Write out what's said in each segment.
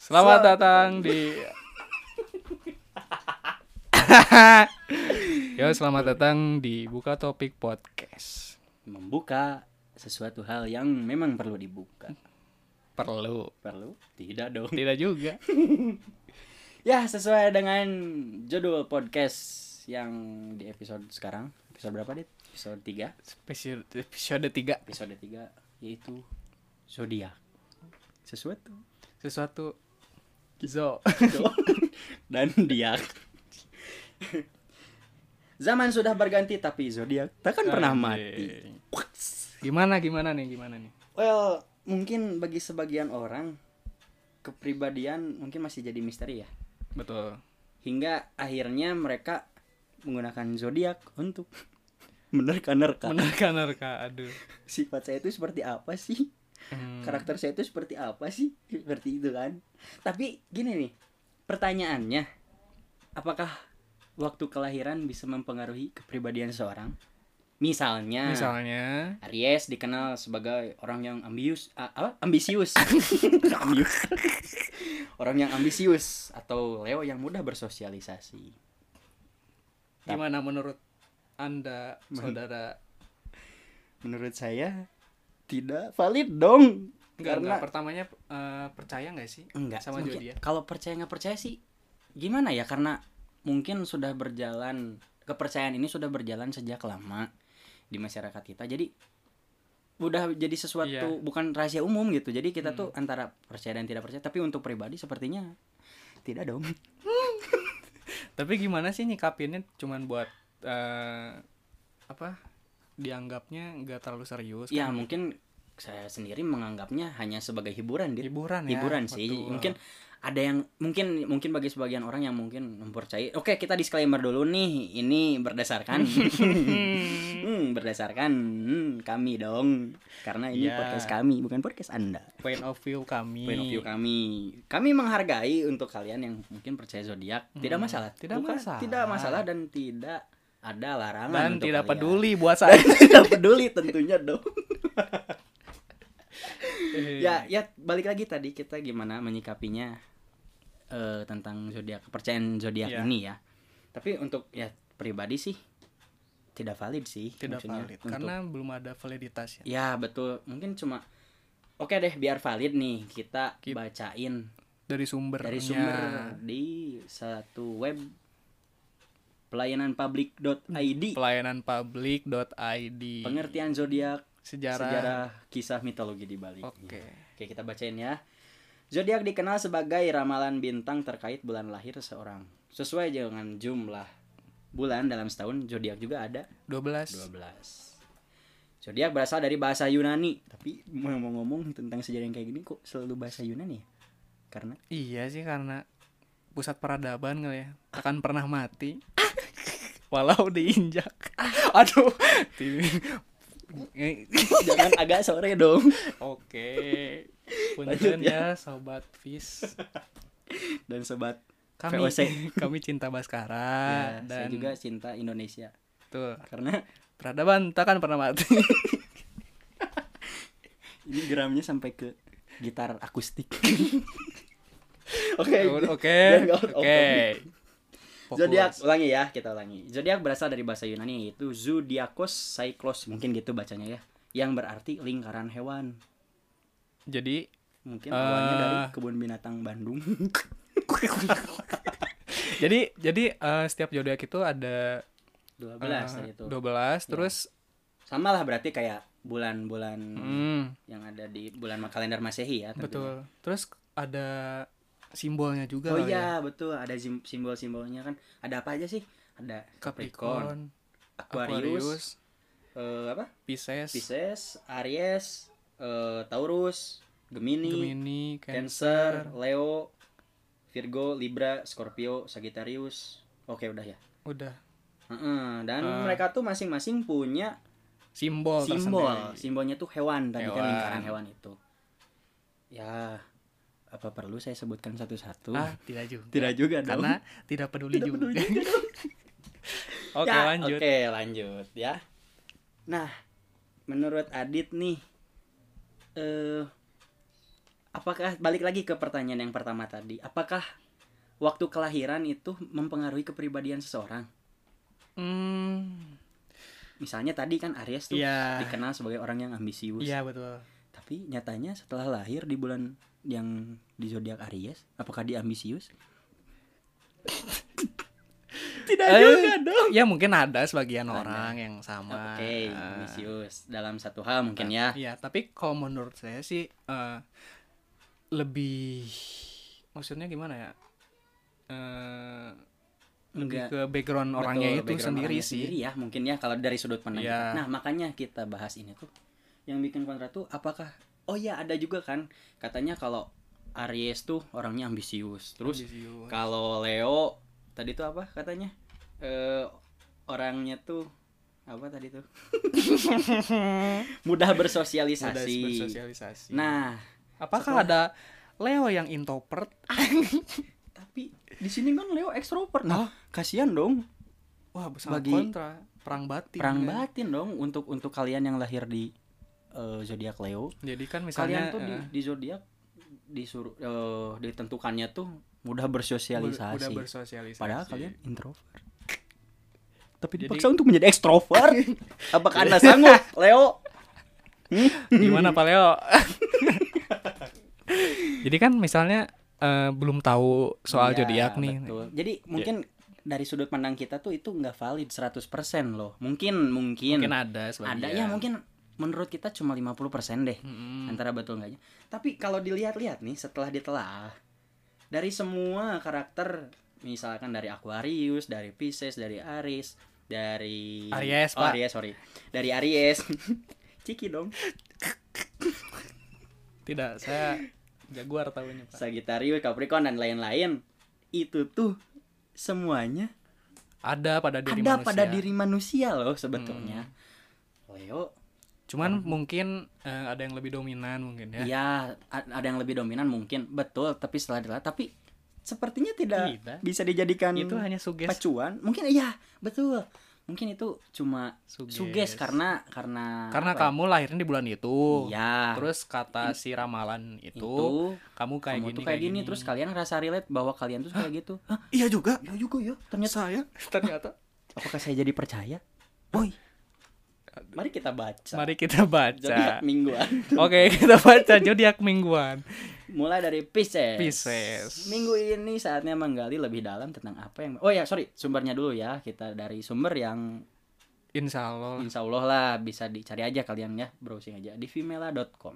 Selamat datang di Yo, selamat datang di Buka Topik Podcast. membuka sesuatu hal yang memang perlu dibuka. Perlu. Perlu? Tidak dong. Tidak juga. Ya, sesuai dengan judul podcast yang di episode sekarang. Episode berapa, Dit? Episode 3. Episode episode 3 Episode 3 yaitu zodiak. Sesuatu. sesuatu Zo. Dan diak. Zaman sudah berganti tapi zodiak takkan pernah mati. Anjing. Gimana gimana nih gimana nih? Well, mungkin bagi sebagian orang kepribadian mungkin masih jadi misteri ya. Betul. hingga akhirnya mereka menggunakan zodiak untuk menerka-nerka Menerka nerka aduh. sifat saya itu seperti apa sih Hmm, karakter saya itu seperti apa sih seperti itu kan tapi gini nih pertanyaannya apakah waktu kelahiran bisa mempengaruhi kepribadian seorang misalnya, Misalnya Aries dikenal sebagai orang yang ambius a- apa ambisius Ambius. orang yang ambisius atau Leo yang mudah bersosialisasi gimana menurut Anda saudara menurut saya tidak valid dong Enggak, enggak. karena pertamanya eh, percaya nggak sih enggak sama Mungkin- Jody ya? kalau percaya nggak percaya sih gimana ya karena mungkin sudah berjalan kepercayaan ini sudah berjalan sejak lama di masyarakat kita jadi udah jadi sesuatu Iya. Hmm. bukan rahasia umum gitu jadi kita tuh antara percaya dan tidak percaya tapi untuk pribadi sepertinya tidak dong Tapi gimana sih nyikapinnya cuman buat eh, apa? Dianggapnya nggak terlalu serius. ya kan? mungkin saya sendiri menganggapnya hanya sebagai hiburan Dit. hiburan ya. hiburan sih betul. mungkin ada yang mungkin mungkin bagi sebagian orang yang mungkin mempercayai oke kita disclaimer dulu nih ini berdasarkan Hmm, berdasarkan hmm, kami dong karena ini Ya. podcast kami bukan podcast anda point of view kami. point of view kami kami menghargai untuk kalian yang mungkin percaya zodiak tidak masalah Hmm, tidak masalah. tidak masalah dan tidak ada larangan Dan untuk tidak kalian. peduli buat saya. tidak peduli tentunya dong Iya, ya ya balik lagi tadi kita gimana menyikapinya eh, tentang zodiak kepercayaan zodiak Iya. ini ya tapi untuk ya pribadi sih tidak valid sih tidak maksudnya valid untuk- karena belum ada validitas ya. ya betul mungkin cuma oke deh biar valid nih kita Kit- bacain Dari sumber dari sumber di satu web pelayanan public.id pelayananpublic.id pengertian zodiak sejarah, sejarah kisah mitologi di balik Oke. Oke, kita bacain ya. Zodiak dikenal sebagai ramalan bintang terkait bulan lahir seorang. Sesuai dengan jumlah bulan dalam setahun, zodiak juga ada 12 12. Zodiak berasal dari bahasa Yunani. Tapi mau ngomong tentang sejarah yang kayak gini kok selalu bahasa Yunani ya? Karena Iya sih karena pusat peradaban kali ya. Takkan pernah mati. Walau diinjak. Aduh. Tim- jangan agak sore dong. Oke. Lanjut Punten ya sobat Fis. Dan sobat Kami VOC. kami cinta Baskara ya, Ah, dan saya juga cinta Indonesia. tuh Karena peradaban takkan pernah mati. ini geramnya sampai ke gitar akustik. Oke, Oke. biar nggak out of Oke. Fokus. Zodiak ulangi ya, kita ulangi. Zodiak berasal dari bahasa Yunani yaitu Zudiakos Cyclos, mungkin gitu bacanya ya, yang berarti lingkaran hewan. Jadi Mungkin awalnya dari Eh. kebun binatang Bandung. jadi jadi eh, setiap zodiak itu ada 12 eh, tadi itu. Iya. 12 terus Sama lah gitu. berarti kayak bulan-bulan hmm, yang ada di bulan kalender Masehi ya. tentunya. betul. Terus ada simbolnya juga Oh kali ya. iya, betul. Ada sim- simbol-simbolnya kan. Ada apa aja sih? Ada Capricorn, Capricorn, Aquarius, Aquarius, eh, apa? Pisces, Pisces, Aries, eh, Taurus, Gemini, Cancer. Cancer, Leo, Virgo, Libra, Scorpio, Sagittarius. Oke, udah ya. Udah. Heeh, dan Eh. mereka tuh masing-masing punya Simbol simbol. tersendiri. Simbolnya tuh hewan, tadi kan Hewan. lingkaran hewan itu. Ya, apa perlu saya sebutkan satu-satu? Ah, tidak juga. Tidak juga dong. Karena tidak peduli Tidak juga. peduli juga dong. Oke, Ya, lanjut. Oke, lanjut ya. Nah, menurut Adit nih eh apakah balik lagi ke pertanyaan yang pertama tadi apakah waktu kelahiran itu mempengaruhi kepribadian seseorang Hmm. misalnya tadi kan Aries tuh Iya. dikenal sebagai orang yang ambisius Iya betul. tapi nyatanya setelah lahir di bulan yang di zodiak Aries apakah dia ambisius tidak Eh, juga dong Ya mungkin ada sebagian Ada. orang yang sama. oke Ah. ambisius dalam satu hal mungkin ya Iya, tapi kalau menurut saya sih eh, lebih maksudnya gimana ya? Eh, lebih enggak ke background orangnya Betul, itu background sendiri orangnya sih. sendiri ya mungkin ya kalau dari sudut pandang Iya. kita. nah makanya kita bahas ini tuh yang bikin kontra tuh apakah oh ya ada juga kan katanya kalau Aries tuh orangnya ambisius terus Ambisius. kalau Leo tadi tuh apa katanya eh orangnya tuh apa tadi tuh mudah bersosialisasi, Udah bersosialisasi. nah apakah setelah- ada Leo yang introvert? tapi di sini kan Leo ekstrovert nah kasihan dong Wah, sangat Bagi- kontra, perang batin. perang ya. batin dong untuk untuk kalian yang lahir di eh, zodiak Leo Jadi kan kalian misalnya tuh di, eh, di zodiak disuruh eh, ditentukannya tuh mudah ber- bersosialisasi. udah bersosialisasi. Padahal kalian introvert. Tapi Jadi- dipaksa untuk menjadi ekstrovert. Apakah Anda sanggup, Leo? Gimana Pak Leo? Jadi kan misalnya eh, belum tahu soal Iya, zodiak nih. betul. Jadi mungkin dari sudut pandang kita tuh itu nggak valid 100% loh. Mungkin mungkin, Mungkin ada sebagian. ada ya mungkin menurut kita cuma 50% deh. Mm-mm. antara betul enggaknya. Tapi kalau dilihat-lihat nih setelah ditelaah dari semua karakter misalkan dari Aquarius, dari Pisces, dari Aries, dari Aries, oh, Pak. Aries, sorry. Dari Aries. Ciki dong. Tidak, saya jaguar tahunya Pak. Sagittarius, Capricorn dan lain-lain. Itu tuh semuanya Ada pada diri ada manusia. pada diri manusia loh sebetulnya. Hmm. Leo, Cuman mungkin eh, ada yang lebih dominan mungkin ya. ya a- ada yang lebih dominan mungkin, betul, tapi setelah ditelaah tapi sepertinya tidak Tidak. bisa dijadikan Itu hanya suges. pacuan mungkin iya betul mungkin itu cuma Suges. suges karena karena Karena apa kamu lahirnya di bulan ya? itu. Iya, Terus kata si ramalan itu, itu kamu kayak kamu gini tuh kayak gini. terus kalian rasa relate bahwa kalian tuh kayak gitu Hah, Iya juga. ya juga ya ternyata saya ternyata. apakah saya jadi percaya woi mari kita baca Mari kita baca. jadi ya. mingguan Oke, kita baca zodiak mingguan. mulai dari Pisces Pisces. minggu ini saatnya menggali lebih dalam tentang apa yang oh ya sorry sumbernya dulu ya kita dari sumber yang Insya Allah. Insya Allah lah bisa dicari aja kalian ya browsing aja di femela.com.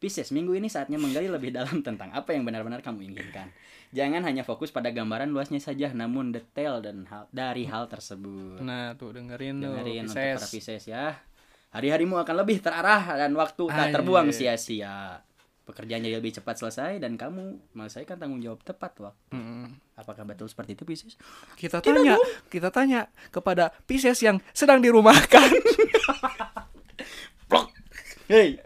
Pisces, minggu ini saatnya menggali lebih dalam tentang apa yang benar-benar kamu inginkan. Jangan hanya fokus pada gambaran luasnya saja, namun detail dan hal, dari hal tersebut. Nah, tuh dengerin, tuh, Dengerin untuk Pisces. para Pisces ya. Hari-harimu akan lebih terarah dan waktu tak Anjir. terbuang sia-sia. Pekerjaan jadi lebih cepat selesai dan kamu menyelesaikan tanggung jawab tepat waktu. Mm-mm. Apakah betul seperti itu Pisces? Kita tanya, kita tanya kepada Pisces yang sedang dirumahkan. Plok. Hey.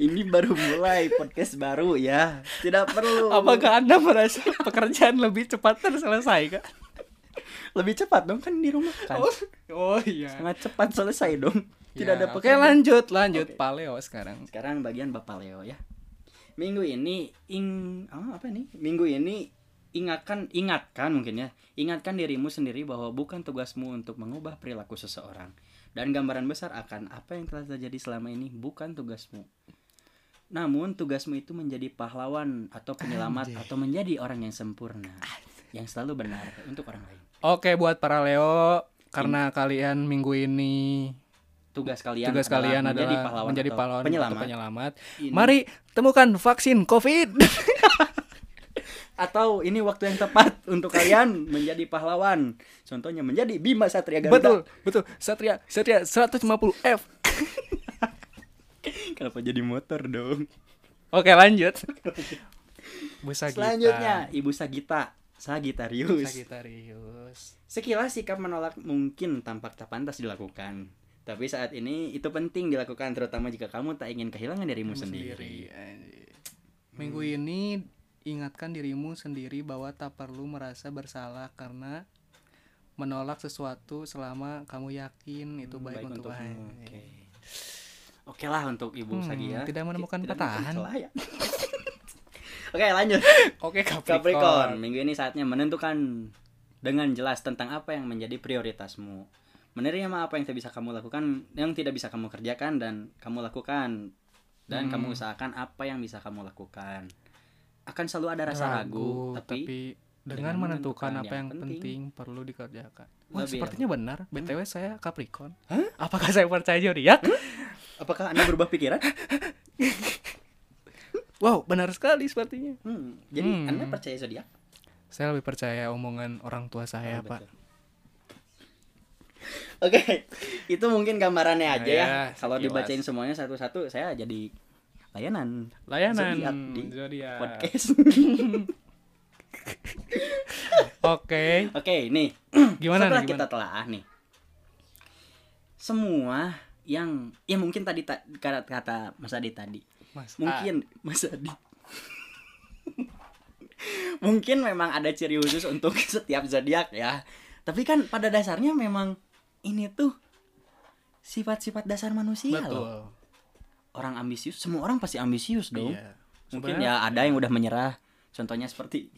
Ini baru mulai podcast baru ya. Tidak perlu. Apakah Anda merasa pekerjaan lebih cepat terselesaikan? lebih cepat dong kan di rumah kan? Oh, oh iya. Sangat cepat selesai dong. Tidak Ya, ada Oke, pekerjaan. lanjut, lanjut Oke. Paleo sekarang. Sekarang bagian Bapak Leo ya. Minggu ini ing ah, apa nih? Minggu ini ingatkan ingatkan mungkin ya. Ingatkan dirimu sendiri bahwa bukan tugasmu untuk mengubah perilaku seseorang dan gambaran besar akan apa yang telah terjadi selama ini bukan tugasmu. Namun tugasmu itu menjadi pahlawan atau penyelamat Anjay. atau menjadi orang yang sempurna yang selalu benar untuk orang lain. Oke, buat para Leo, karena kalian minggu ini Tugas Iya. kalian tugas adalah kalian adalah menjadi pahlawan, atau atau penyelamat. penyelamat. Ini- Mari temukan vaksin COVID. atau ini waktu yang tepat untuk kalian menjadi pahlawan. Contohnya menjadi Bima Satria Garuda. betul, betul. Satria, Satria 150 F. Kenapa jadi motor dong? Oke, lanjut. Busa Selanjutnya Ibu Sagita, Sagitarius. Sagitarius. Sekilas sikap menolak mungkin tampak tak pantas dilakukan. Tapi saat ini itu penting dilakukan terutama jika kamu tak ingin kehilangan dirimu Kamu sendiri. Hmm. anjir. Minggu ini ingatkan dirimu sendiri bahwa tak perlu merasa bersalah karena menolak sesuatu selama kamu yakin itu baik, untuk Hmm, untukmu. baik. Oke. Oke lah untuk Ibu Hmm, Sagia. tidak menemukan Tidak patahan. celah ya. Oke, lanjut. Oke Capricorn. Capricorn, minggu ini saatnya menentukan dengan jelas tentang apa yang menjadi prioritasmu. Menerima apa yang tidak bisa kamu lakukan, yang tidak bisa kamu kerjakan dan kamu lakukan dan Hmm. kamu usahakan apa yang bisa kamu lakukan. Akan selalu ada rasa ragu, tapi, dengan dengan menentukan menentukan apa yang yang penting, penting, perlu dikerjakan. Wah, lebih Hmm? sepertinya benar. BTW saya Capricorn. Hah? Hmm? Apakah saya percaya Ya? zodiak? apakah Anda berubah pikiran? Wow, benar sekali sepertinya. Hmm, jadi Hmm. Anda percaya zodiak? Saya lebih percaya omongan orang tua saya, Oh, Iya, Pak. betul. Oke, itu mungkin gambarannya aja Ya, ya. Kalau sekilas. dibacain semuanya satu-satu, saya jadi layanan Layanan Zodiak di zodiak. podcast. Oke, Oke, nih gimana setelah nih? kita Gimana? telaah nih, semua yang ya mungkin tadi ta- kata kata Mas Adi tadi, Mas ah, A. mungkin Mas Adi, mungkin memang ada ciri khusus untuk setiap zodiak ya. Tapi kan pada dasarnya memang ini tuh sifat-sifat dasar manusia Iya loh. betul. Orang ambisius, semua orang pasti ambisius dong. Iya. Mungkin Sebenarnya- ya ada yang udah menyerah. Contohnya seperti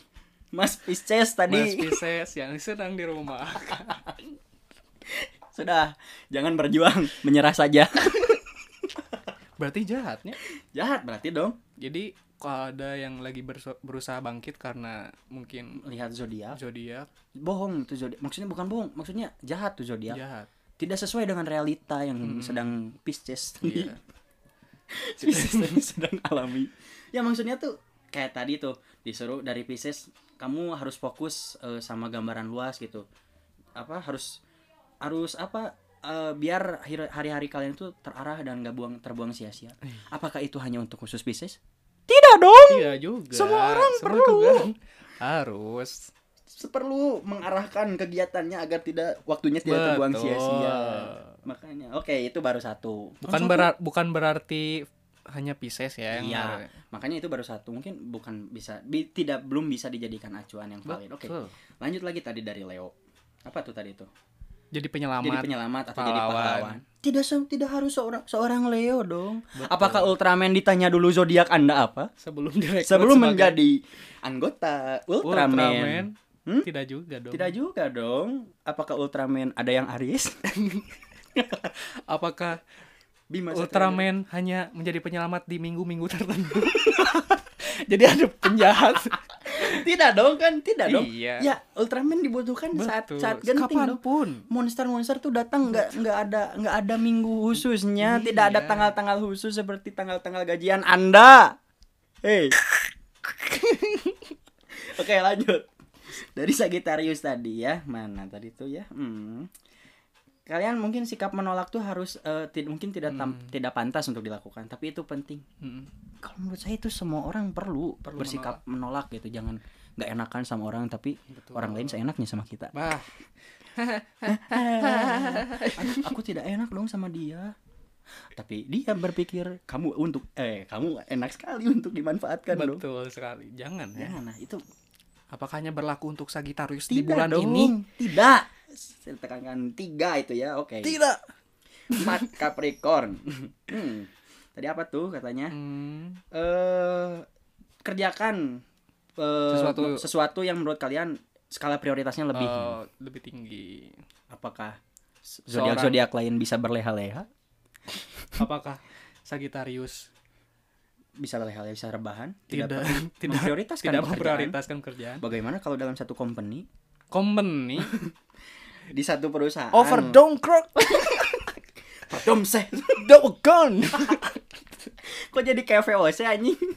Mas Pisces tadi. Mas Pisces yang sedang di rumah. Sudah, jangan berjuang, menyerah saja. Berarti jahatnya. Jahat berarti dong. Jadi kalau ada yang lagi berso- berusaha bangkit karena mungkin Lihat zodiak. zodiak Bohong itu zodiak. Maksudnya bukan bohong, maksudnya jahat tuh zodiak. jahat. Tidak sesuai dengan realita yang sedang Pisces tadi. Iya. Pisces tadi sedang alami. Ya maksudnya tuh kayak tadi tuh disuruh dari Pisces kamu harus fokus eh, sama gambaran luas gitu. Apa harus harus apa eh, biar hari- hari-hari kalian itu terarah dan nggak buang terbuang sia-sia. Apakah itu hanya untuk khusus Pisces? Tidak dong. Iya juga. Semua orang Semua perlu. juga harus. perlu mengarahkan kegiatannya agar tidak waktunya tidak Betul. terbuang sia-sia. Makanya, oke itu baru satu. Bukan Langsung berar- bukan berarti hanya Pisces ya yang Iya. har- ke- Makanya itu baru satu. Mungkin bukan bisa bi- tidak belum bisa dijadikan acuan yang valid. Oke. Betul. Lanjut lagi tadi dari Leo. Apa tuh tadi tuh? Jadi Jadi penyelamat. penyelamat atau jadi pahlawan. pahlawan? Tidak se- tidak harus seorang seorang Leo dong. Apakah Ultraman ditanya dulu zodiak Anda apa? sebelum direkrut Sebelum sebagai menjadi anggota Ultraman. Ultraman. Hmm? Tidak juga dong. Tidak juga dong. Apakah Ultraman ada yang Aries? Apakah Bima Satria Ultraman hanya menjadi penyelamat di minggu-minggu tertentu? Jadi ada penjahat. tidak dong kan tidak dong Iya. ya Ultraman dibutuhkan saat Betul. saat genting dong Kapanpun. monster-monster tuh datang nggak nggak ada nggak ada minggu khususnya tidak ada Iya. tanggal-tanggal khusus seperti tanggal-tanggal gajian anda hei oke lanjut dari Sagittarius tadi ya mana tadi tuh ya hmm. kalian mungkin sikap menolak tuh harus eh, tid- mungkin tidak tam- Hmm. tidak pantas untuk dilakukan tapi itu penting Mm-mm. kalau menurut saya itu semua orang perlu, Perlu bersikap menolak. gitu jangan nggak enakan sama orang tapi Betul. orang lain seenaknya sama kita Bah, Aduh, aku tidak enak dong sama dia tapi dia berpikir kamu untuk eh kamu enak sekali untuk dimanfaatkan Kan dong betul sekali. Jangan ya. ya nah itu Apakah hanya berlaku untuk Sagittarius di tidak bulan dong. ini? tidak Saya tekankan tiga itu ya oke Tidak. empat Capricorn Hmm. tadi apa tuh katanya Hmm, eh kerjakan eh, Sesuatu. sesuatu yang menurut kalian skala prioritasnya lebih eh, lebih tinggi. apakah s- seorang- zodiak zodiak lain bisa berleha-leha Apakah Sagittarius bisa berleha-leha bisa rebahan tidak per- tidak memprioritaskan tidak pekerjaan? memprioritaskan kerjaan? bagaimana kalau dalam satu company Company di satu perusahaan Anu. dongkrok overdose dogon kok jadi kayak VOC anjing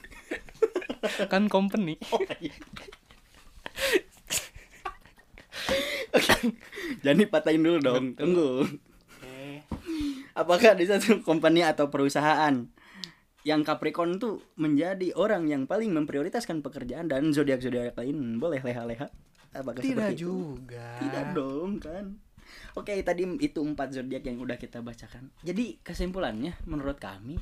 kan company iya. jadi patahin dulu dong Betul. tunggu Eh, apakah di satu company atau perusahaan yang Capricorn tuh menjadi orang yang paling memprioritaskan pekerjaan dan zodiak-zodiak lain boleh leha-leha apakah tidak seperti itu? juga tidak dong kan oke tadi itu empat zodiak yang udah kita bacakan jadi kesimpulannya menurut kami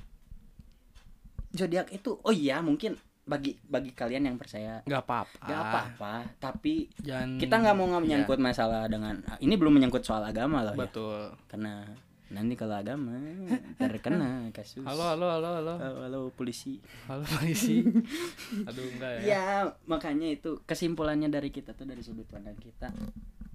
zodiak itu oh iya mungkin bagi bagi kalian yang percaya nggak apa-apa nggak apa-apa tapi Jangan- kita nggak mau Ah. Iya, menyangkut masalah dengan ini belum menyangkut soal agama loh ya betul karena Nanti kalau ada mah terkena kasus. Halo, halo, halo, halo. Halo, halo, polisi. Halo polisi. Aduh, enggak ya. Ya, makanya itu kesimpulannya dari kita tuh dari sudut pandang kita.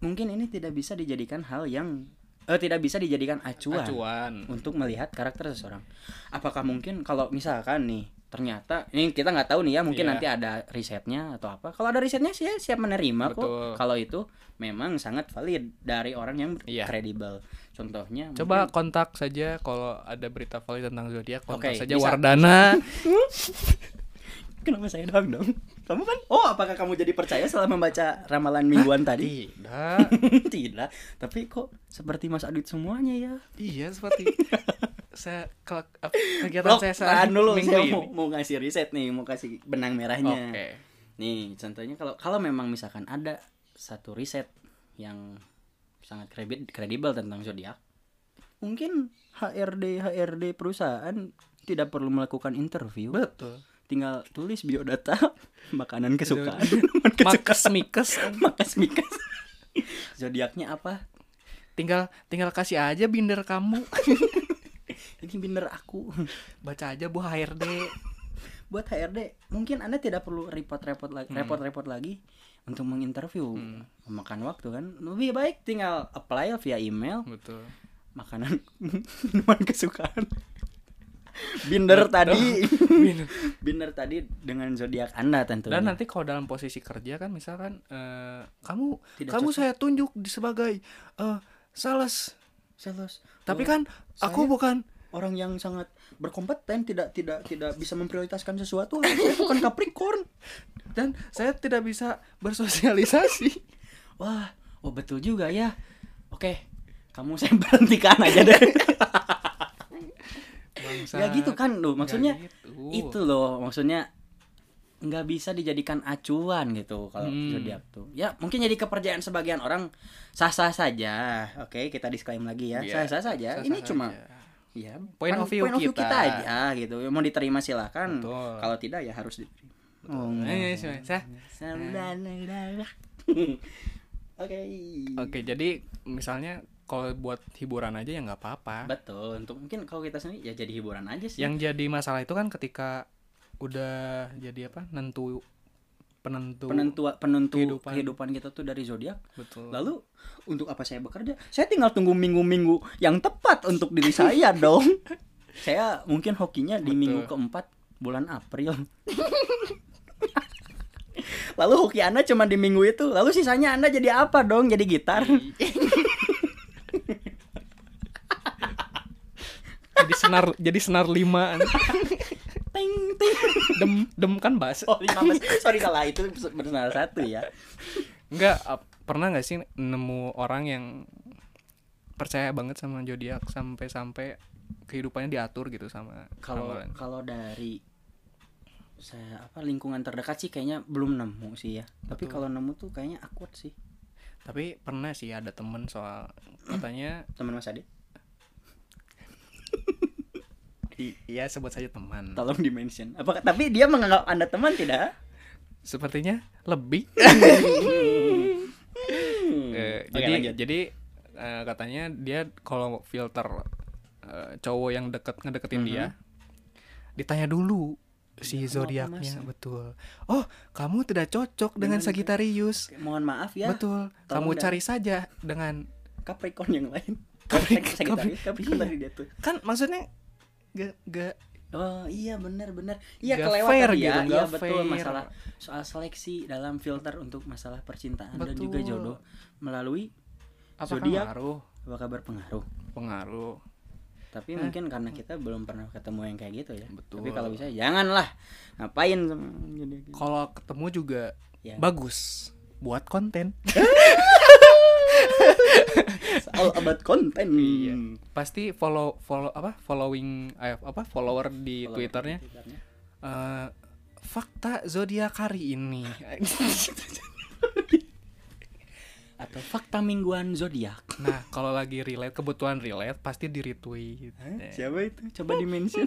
Mungkin ini tidak bisa dijadikan hal yang eh tidak bisa dijadikan acuan, Acuan. untuk melihat karakter seseorang. Apakah mungkin kalau misalkan nih ternyata ini kita nggak tahu nih ya mungkin Iya. nanti ada risetnya atau apa kalau ada risetnya sih ya, siap menerima kok Betul. kalau itu memang sangat valid dari orang yang Iya. kredibel contohnya Coba kontak saja kalau ada berita valid tentang zodiak kontak Oke, saja bisa. Wardana. Kenapa saya doang dong? Kamu kan, oh apakah kamu jadi percaya setelah membaca ramalan mingguan tadi? Tidak. Tidak, tapi kok seperti Mas Adit semuanya ya? iya, seperti saya kelak- apa, kegiatan Blok, Iya, saya tahan saat dulu, minggu saya ini. mau, mau ngasih riset nih, mau kasih Oke. benang merahnya. Nih, contohnya kalau kalau memang misalkan ada satu riset yang sangat kredi- kredibel tentang zodiak, mungkin HRD HRD perusahaan tidak perlu melakukan interview, Betul. tinggal tulis biodata, makanan kesukaan, Makes mikes Makas mikas. Zodiaknya apa? tinggal tinggal kasih aja binder kamu. Ini bener aku. Baca aja Bu HRD. Buat HRD, mungkin Anda tidak perlu repot-repot lagi, repot-repot lagi untuk menginterview. Memakan waktu kan. Lebih baik tinggal apply via email, Betul. makanan minuman kesukaan. Binder tadi. Binder tadi dengan zodiak Anda tentunya. Dan nanti kalau dalam posisi kerja kan misalkan eh, kamu Tidak kamu cocok. saya tunjuk di- sebagai eh, sales. Sales. Tapi Oh, kan aku saya- bukan orang yang sangat berkompeten tidak tidak tidak bisa memprioritaskan sesuatu. Saya bukan Capricorn. dan saya tidak bisa bersosialisasi. Wah, oh betul juga ya. Oke, kamu saya berhentikan aja deh. Bangsa. ya gitu kan loh, maksudnya Nggak gitu. itu loh, maksudnya nggak bisa dijadikan acuan gitu kalau Hmm. zodiak tuh. Ya mungkin jadi kepercayaan sebagian orang sah-sah saja. Oke, kita disclaim lagi ya, Iya, sah-sah saja. sah-sah Iya, Ini saja. cuma ya Point pan- of view kita. aja gitu. Mau diterima silakan. Betul. Kalau tidak ya harus diterima. Oh, Eh, enggak. sih, saya- Oke. iya. Oke, jadi misalnya kalau buat hiburan aja ya nggak apa-apa. Betul, untuk mungkin kalau kita sendiri ya jadi hiburan aja sih. Yang jadi masalah itu kan ketika udah jadi apa? Nentu penentu. penentu penentu Kehidupan. kehidupan. kita tuh dari zodiak. Betul. Lalu untuk apa saya bekerja? Saya tinggal tunggu minggu-minggu yang tepat untuk diri saya dong. Saya mungkin hokinya di Betul. minggu keempat bulan April. lalu hoki Anda cuma di minggu itu. Lalu sisanya Anda jadi apa dong? Jadi gitar. Iya. jadi senar jadi senar lima ting ting. dem dem kan bahasa Oh, 15. Sorry salah itu benar satu ya. enggak ap- pernah nggak sih nemu orang yang percaya banget sama zodiak sampai-sampai kehidupannya diatur gitu sama kalau ramalan? kalau dari saya apa lingkungan terdekat sih kayaknya belum nemu sih ya tapi Betul. kalau nemu tuh kayaknya akuat sih tapi pernah sih ada temen soal katanya teman Mas Hmm. Ade i- iya sebut saja teman tolong di mention apa tapi dia menganggap anda teman tidak sepertinya lebih Eh, Hmm, Oke, jadi lanjut. jadi eh, katanya dia kalau filter eh, cowok yang deket ngedeketin Mhm. dia Mm-hmm. ditanya dulu si Iya, kamu apa, zodiaknya Mas? betul oh kamu tidak cocok dengan Dengan- Sagitarius Oke, mohon maaf ya betul kamu tolong dah. cari saja dengan Capricorn yang lain Capricorn. Sagittarius, Capricorn, Iya. tadi dia tuh kan maksudnya gak gak oh iya benar benar iya Nggak kelewat fair tadi ya gitu, iya nggak betul fair. masalah soal seleksi dalam filter untuk masalah percintaan dan Betul. juga jodoh melalui apa Zodiak. pengaruh apakah berpengaruh pengaruh Eh. Tapi mungkin karena kita belum pernah ketemu yang kayak gitu ya. Betul. Tapi kalau bisa janganlah. Ngapain sama jadi gitu. kalau ketemu juga Ya. bagus buat konten It's all about content. Iya. pasti follow follow apa following eh, apa follower di Kalau twitternya di Twitternya. eh fakta zodiak hari ini Atau fakta mingguan zodiak. nah kalau lagi relate kebutuhan relate pasti di retweet Eh, Siapa itu? Coba di mention.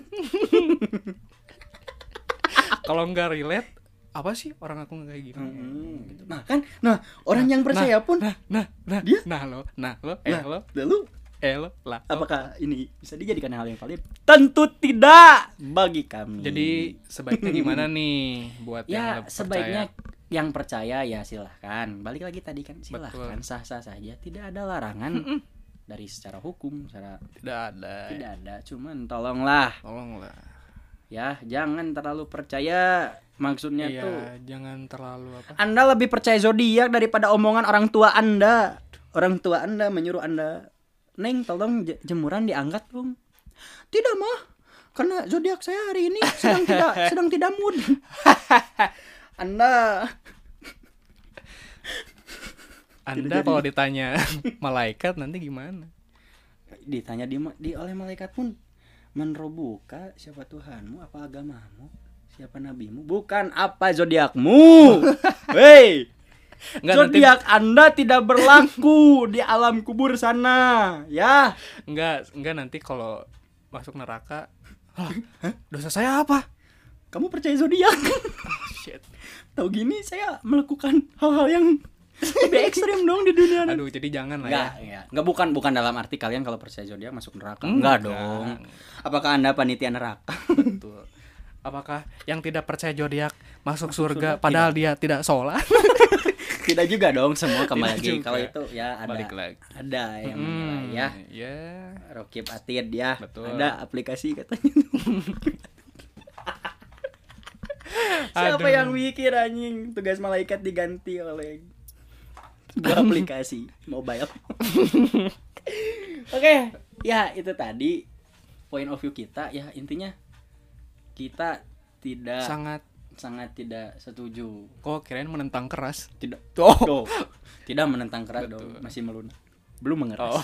kalau nggak relate apa sih orang aku nggak kayak gini Mm-hmm. Hmm, gitu. Nah kan, nah orang yang percaya pun nah nah nah Dia? nah lo nah lo eh Nah, lo lalu el lah Apakah ini bisa dijadikan hal yang valid? Tentu tidak bagi kami. jadi sebaiknya gimana nih buat yang ya lebih sebaiknya yang percaya ya silahkan. Balik lagi tadi kan silahkan sah-sah saja. Tidak ada larangan dari secara hukum, secara percaya? tidak ada tidak ada. Cuman tolonglah tolonglah ya jangan terlalu percaya. Maksudnya iya tuh jangan terlalu apa Anda lebih percaya zodiak daripada omongan orang tua Anda. Orang tua Anda menyuruh Anda, "Neng, tolong je- jemuran diangkat, Bung." Tidak, mah. Karena zodiak saya hari ini sedang tidak sedang tidak mood. anda anda kalau ditanya malaikat nanti gimana ditanya di, ma- di oleh malaikat pun menrobuka siapa Tuhanmu apa agamamu siapa nabimu bukan apa zodiakmu hei Nggak, nanti- zodiak anda tidak berlaku di alam kubur sana ya enggak enggak nanti kalau masuk neraka "Lah, dosa saya apa kamu percaya zodiak Ah, shit tahu gini saya melakukan hal-hal yang lebih ekstrim dong di dunia ini. aduh jadi jangan lah ya Enggak, enggak. Enggak bukan bukan dalam arti kalian kalau percaya zodiak masuk neraka. Enggak. Enggak, dong. Apakah Anda panitia neraka? betul apakah yang tidak percaya zodiak masuk, surga, padahal dia tidak sholat Tidak juga dong, semua kembali Tidak lagi. juga. Kalau itu ya ada balik lagi ada yang menilai Hmm, ya. ya Rokib Atid ya. Betul. Ada aplikasi katanya. Siapa Aduh. yang mikir anjing tugas malaikat diganti oleh dua aplikasi mobile. Oke, ya itu tadi point of view kita ya intinya kita tidak sangat sangat tidak setuju. kok kirain menentang keras Tidak oh, Tuh, tidak menentang keras dong, Betul. masih melunak. Belum oh. mengeras.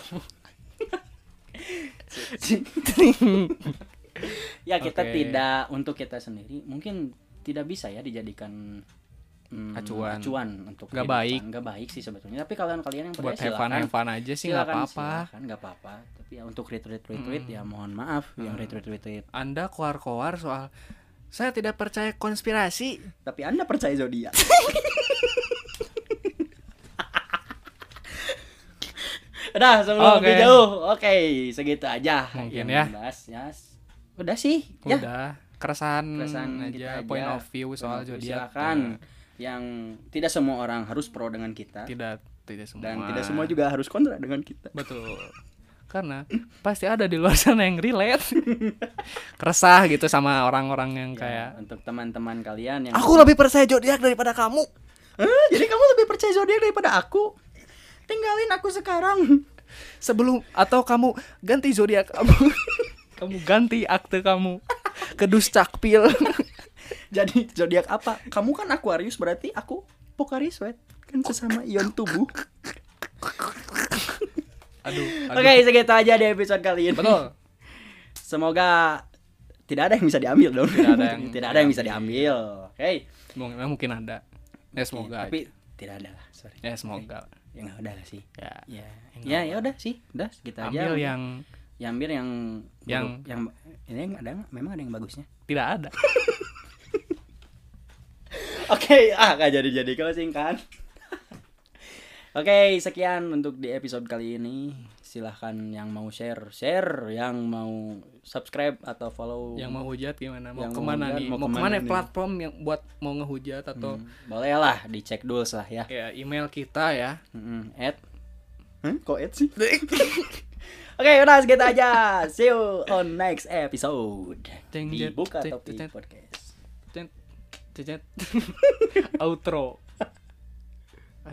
ya kita Oke. tidak untuk kita sendiri mungkin tidak bisa ya dijadikan mm, Acuan. untuk Nggak kehidupan. baik. nggak baik sih sebetulnya tapi kalian kalian yang buat percaya have fun silakan. have fun aja sih nggak Silakan, apa-apa Hmm. silakan, nggak apa-apa tapi ya untuk retweet retweet ya mohon maaf yang retweet retweet anda koar-koar soal saya tidak percaya konspirasi tapi anda percaya zodiak Udah sebelum Oke. lebih jauh, oke segitu aja. Mungkin yang ya. dibahas, ya. Udah sih, ya. udah keresan, keresan kita aja aja. point of view soal Point of view, zodiak silakan. Nah, yang tidak semua orang harus pro dengan kita tidak tidak semua dan tidak semua juga harus kontra dengan kita betul karena pasti ada di luar sana yang relate keresah gitu sama orang-orang yang kayak Ya, untuk teman-teman kalian yang aku lebih percaya zodiak daripada kamu "Eh, jadi kamu lebih percaya zodiak daripada aku tinggalin aku sekarang sebelum atau kamu ganti zodiak kamu kamu ganti akte kamu kedus cakpil jadi zodiak apa kamu kan Aquarius berarti aku Pocari Sweat kan sesama ion tubuh aduh, oke segitu aja di episode kali ini betul semoga tidak ada yang bisa diambil dong Tidak ada yang- tidak ada yang bisa diambil oke mungkin mungkin ada ya semoga tapi tidak ada lah sorry ya semoga ya nggak udah lah sih ya ya ya ya udah sih udah kita ambil aja yang ya ambil yang Yang- buruk. yang ini yang ada nggak? memang ada yang bagusnya tidak ada oke ah nggak jadi jadi closing kan oke sekian untuk di episode kali ini silahkan yang mau share share yang mau subscribe atau follow yang mau hujat gimana mau Yang mau kemana hujat, nih mau mau kemana kemana nih? platform yang buat mau ngehujat atau Hmm, boleh lah dicek dulu lah ya Hmm, ya email kita ya Mm-mm, at kok at sih Oke, udah segitu aja. See you on next episode. Jeng, jeng, Dibuka jeng, topik jeng. podcast. Cet, cet, cet. outro